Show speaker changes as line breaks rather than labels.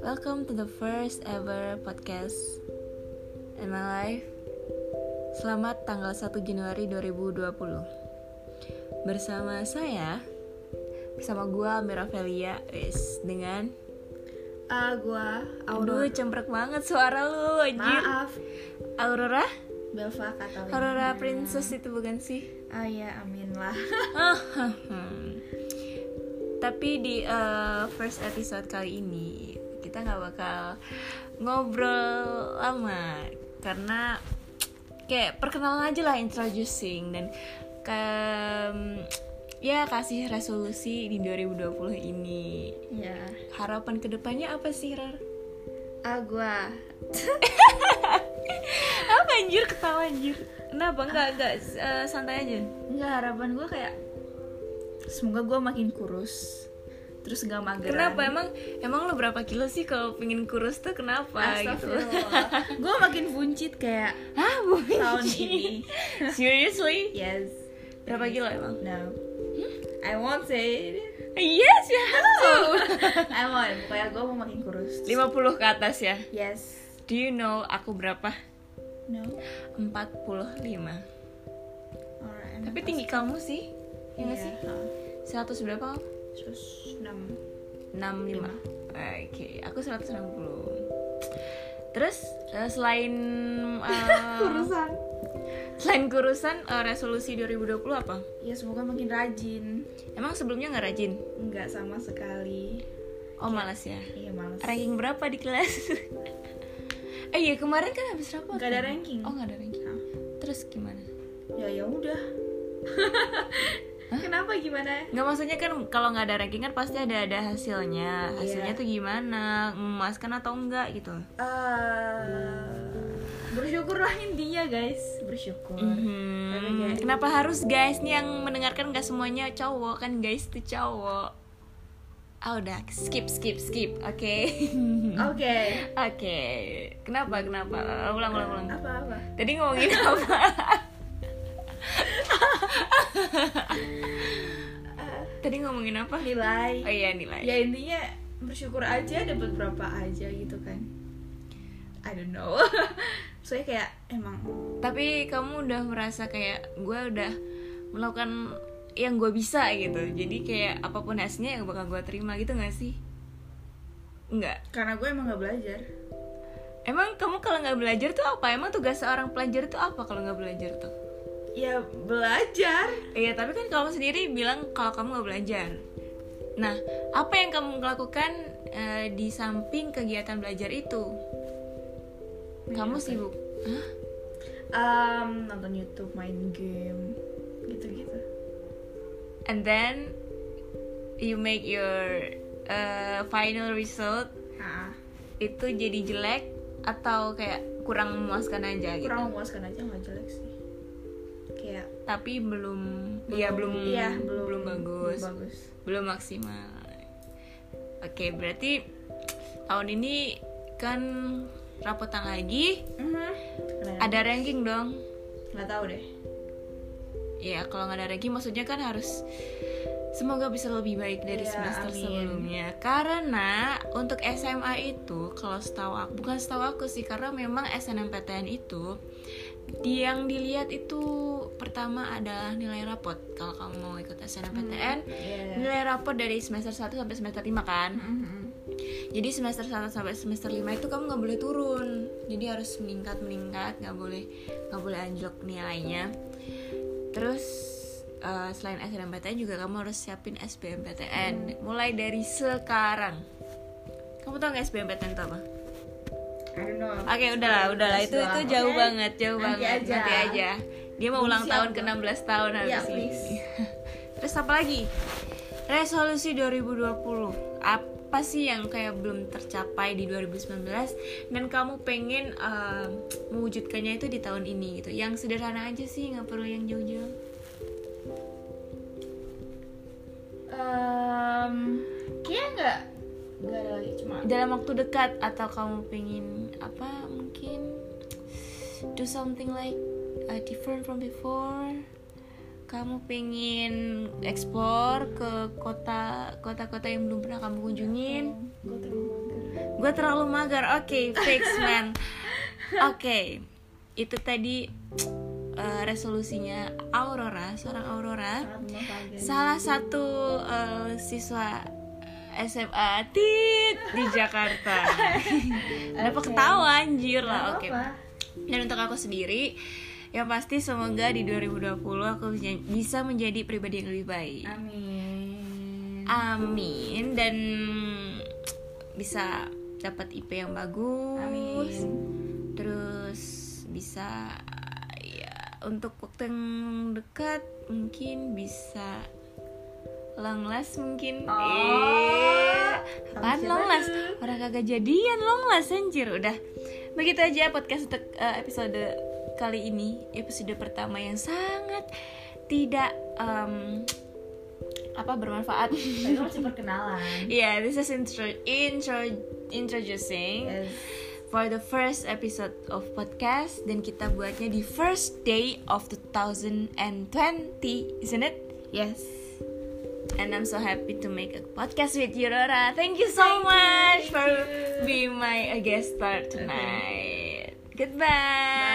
welcome to the first ever podcast in my life. Selamat tanggal 1 Januari 2020. Bersama saya, bersama gue Mira Velia, is dengan
Ah, gua
Aduh,
Aurora.
cemprek banget suara lu, anjir.
Maaf,
Aurora?
Belva Catalina.
Aurora Princess itu bukan sih?
Ah ya, amin lah.
Hmm. Tapi di eh, first episode kali ini kita nggak bakal ngobrol lama karena kayak perkenalan aja lah introducing dan ke ya kasih resolusi di 2020 ini
ya.
harapan kedepannya apa sih Rar?
Ah, gua
Apa anjir ketawa anjir? Kenapa nggak nggak eh, santai aja?
nggak harapan gua kayak semoga gua makin kurus. Terus gak mageran.
Kenapa emang emang lo berapa kilo sih kalau pengen kurus tuh kenapa gitu?
Astagfirullah. gua makin buncit kayak
Hah, buncit?
tahun ini.
Seriously?
Yes.
Berapa kilo emang?
No. Hmm? I won't say it.
Yes, ya.
I won't. Pokoknya gua mau makin kurus.
50 ke atas ya.
Yes.
Do you know aku berapa?
No.
45.
Alright.
Tapi tinggi kamu sih. Ya nggak sih?
Iya, ah.
100 berapa?
Terus enam.
65. Oke, aku 160. Terus eh, selain eh,
Kurusan.
selain kurusan eh, resolusi 2020 apa?
Ya semoga makin rajin.
Emang sebelumnya nggak rajin?
Enggak sama sekali.
Oh, malas ya.
Iya males.
Ranking berapa di kelas? eh iya kemarin kan habis rapot.
Nggak ada
kan?
ranking.
Oh nggak ada ranking.
Nah,
Terus gimana?
ya ya udah. Kenapa gimana?
Nggak maksudnya kan kalau nggak ada ranking kan pasti ada ada hasilnya. Hasilnya
Iya.
tuh gimana? Memuaskan atau enggak gitu?
eh bersyukurlah intinya guys, bersyukur.
Mhm.
Tapi kayak-
Kenapa harus guys nih yang mendengarkan nggak semuanya cowok kan guys tuh cowok. Ah udah skip skip skip. Oke.
Oke.
Oke. Kenapa kenapa? Ulang ulang ulang.
Apa apa?
Tadi ngomongin apa? Tadi ngomongin apa? Oh
Nilai.
iya nilai.
Ya intinya bersyukur aja dapat berapa aja gitu kan. I don't know. Soalnya kayak emang
Tapi kamu udah merasa kayak gue udah melakukan yang gue bisa gitu. Jadi kayak apapun hasilnya yang bakal gue terima gitu gak sih? Enggak.
karena gue emang nggak belajar.
Emang kamu kalau nggak belajar tuh apa? Emang tugas seorang pelajar tuh apa kalau nggak belajar tuh?
Ya belajar.
Iya, tapi kan kamu sendiri bilang kalau kamu nggak belajar. Nah, apa yang kamu lakukan eh, di samping kegiatan belajar itu? Kamu sibuk? Hah?
Um, nonton YouTube, main game, gitu-gitu.
And then you make your eh, final result
Ah,
itu jadi jelek atau kayak kurang memuaskan aja gitu.
kurang memuaskan aja nggak jelek sih. Kayak
Tapi belum, ya belum,
iya,
belum, bagus.
belum bagus.
belum maksimal. Oke, berarti tahun ini kan rapotan lagi,
Mhm. Kenapa?
ada ranking dong.
nggak tahu deh.
Ya, kalau nggak ada ranking maksudnya kan harus semoga bisa lebih baik dari
Iya,
semester
amin.
sebelumnya. Karena untuk SMA itu kalau setahu aku bukan setahu aku sih karena memang SNMPTN itu di- yang dilihat itu pertama adalah nilai rapot kalau kamu mau ikut SNMPTN
Iya.
nilai rapot dari semester 1 sampai semester 5 kan
Mhm.
jadi semester 1 sampai semester 5 itu kamu nggak boleh turun jadi harus meningkat meningkat nggak boleh nggak boleh anjlok nilainya terus eh, selain SNMPTN juga kamu harus siapin SBMPTN mulai dari sekarang kamu tau nggak SBMPTN itu apa?
I don't know.
Oke udahlah udahlah itu itu
Doang.
jauh
Hmm. Oke.
banget jauh
Nanti
banget
aja.
nanti aja dia mau
Belum
ulang
siap
tahun ke
gua.
16 tahun
Iya,
habis ini
please.
terus apa lagi resolusi 2020 apa sih yang kayak belum tercapai di 2019 dan kamu pengen um, mewujudkannya itu di tahun ini gitu yang sederhana aja sih nggak perlu yang jauh-jauh
Um, kayak nggak nggak ada lagi cuma.
dalam waktu dekat atau kamu pengen apa mungkin do something like uh, different from before kamu pengen explore ke kota kota-kota yang belum pernah kamu kunjungin
Gue terlalu mager.
gue gue terlalu mager oke fix man oke itu tadi eh, resolusinya Aurora seorang Aurora
sangat memanfaatkan
salah satu eh, siswa SMA tit di Jakarta kenapa
Oke.
ketawa anjir
Gak
lah oke
apa-apa.
dan untuk aku sendiri yang pasti semoga di 2020 aku bisa- bisa menjadi pribadi yang lebih baik
amin
Amin dan bisa dapat IP yang bagus.
amin
Terus bisa ya untuk waktu yang dekat mungkin bisa long last mungkin.
Oh,
Eh, apaan
siapa
long last?
tuh?
Orang kagak jadian long last anjir udah. Begitu aja podcast untuk eh, episode kali ini, episode pertama yang sangat tidak em, apa bermanfaat.
Tapi masih perkenalan
Yeah, this is intro, intro introducing
Yes.
for the first episode of podcast dan kita buatnya di first day of 2020, isn't it?
yes
And I'm so happy to make a podcast with you, Rora. Thank you so
Thank you,
much
thank
for
you.
being my uh, guest star tonight. Goodbye.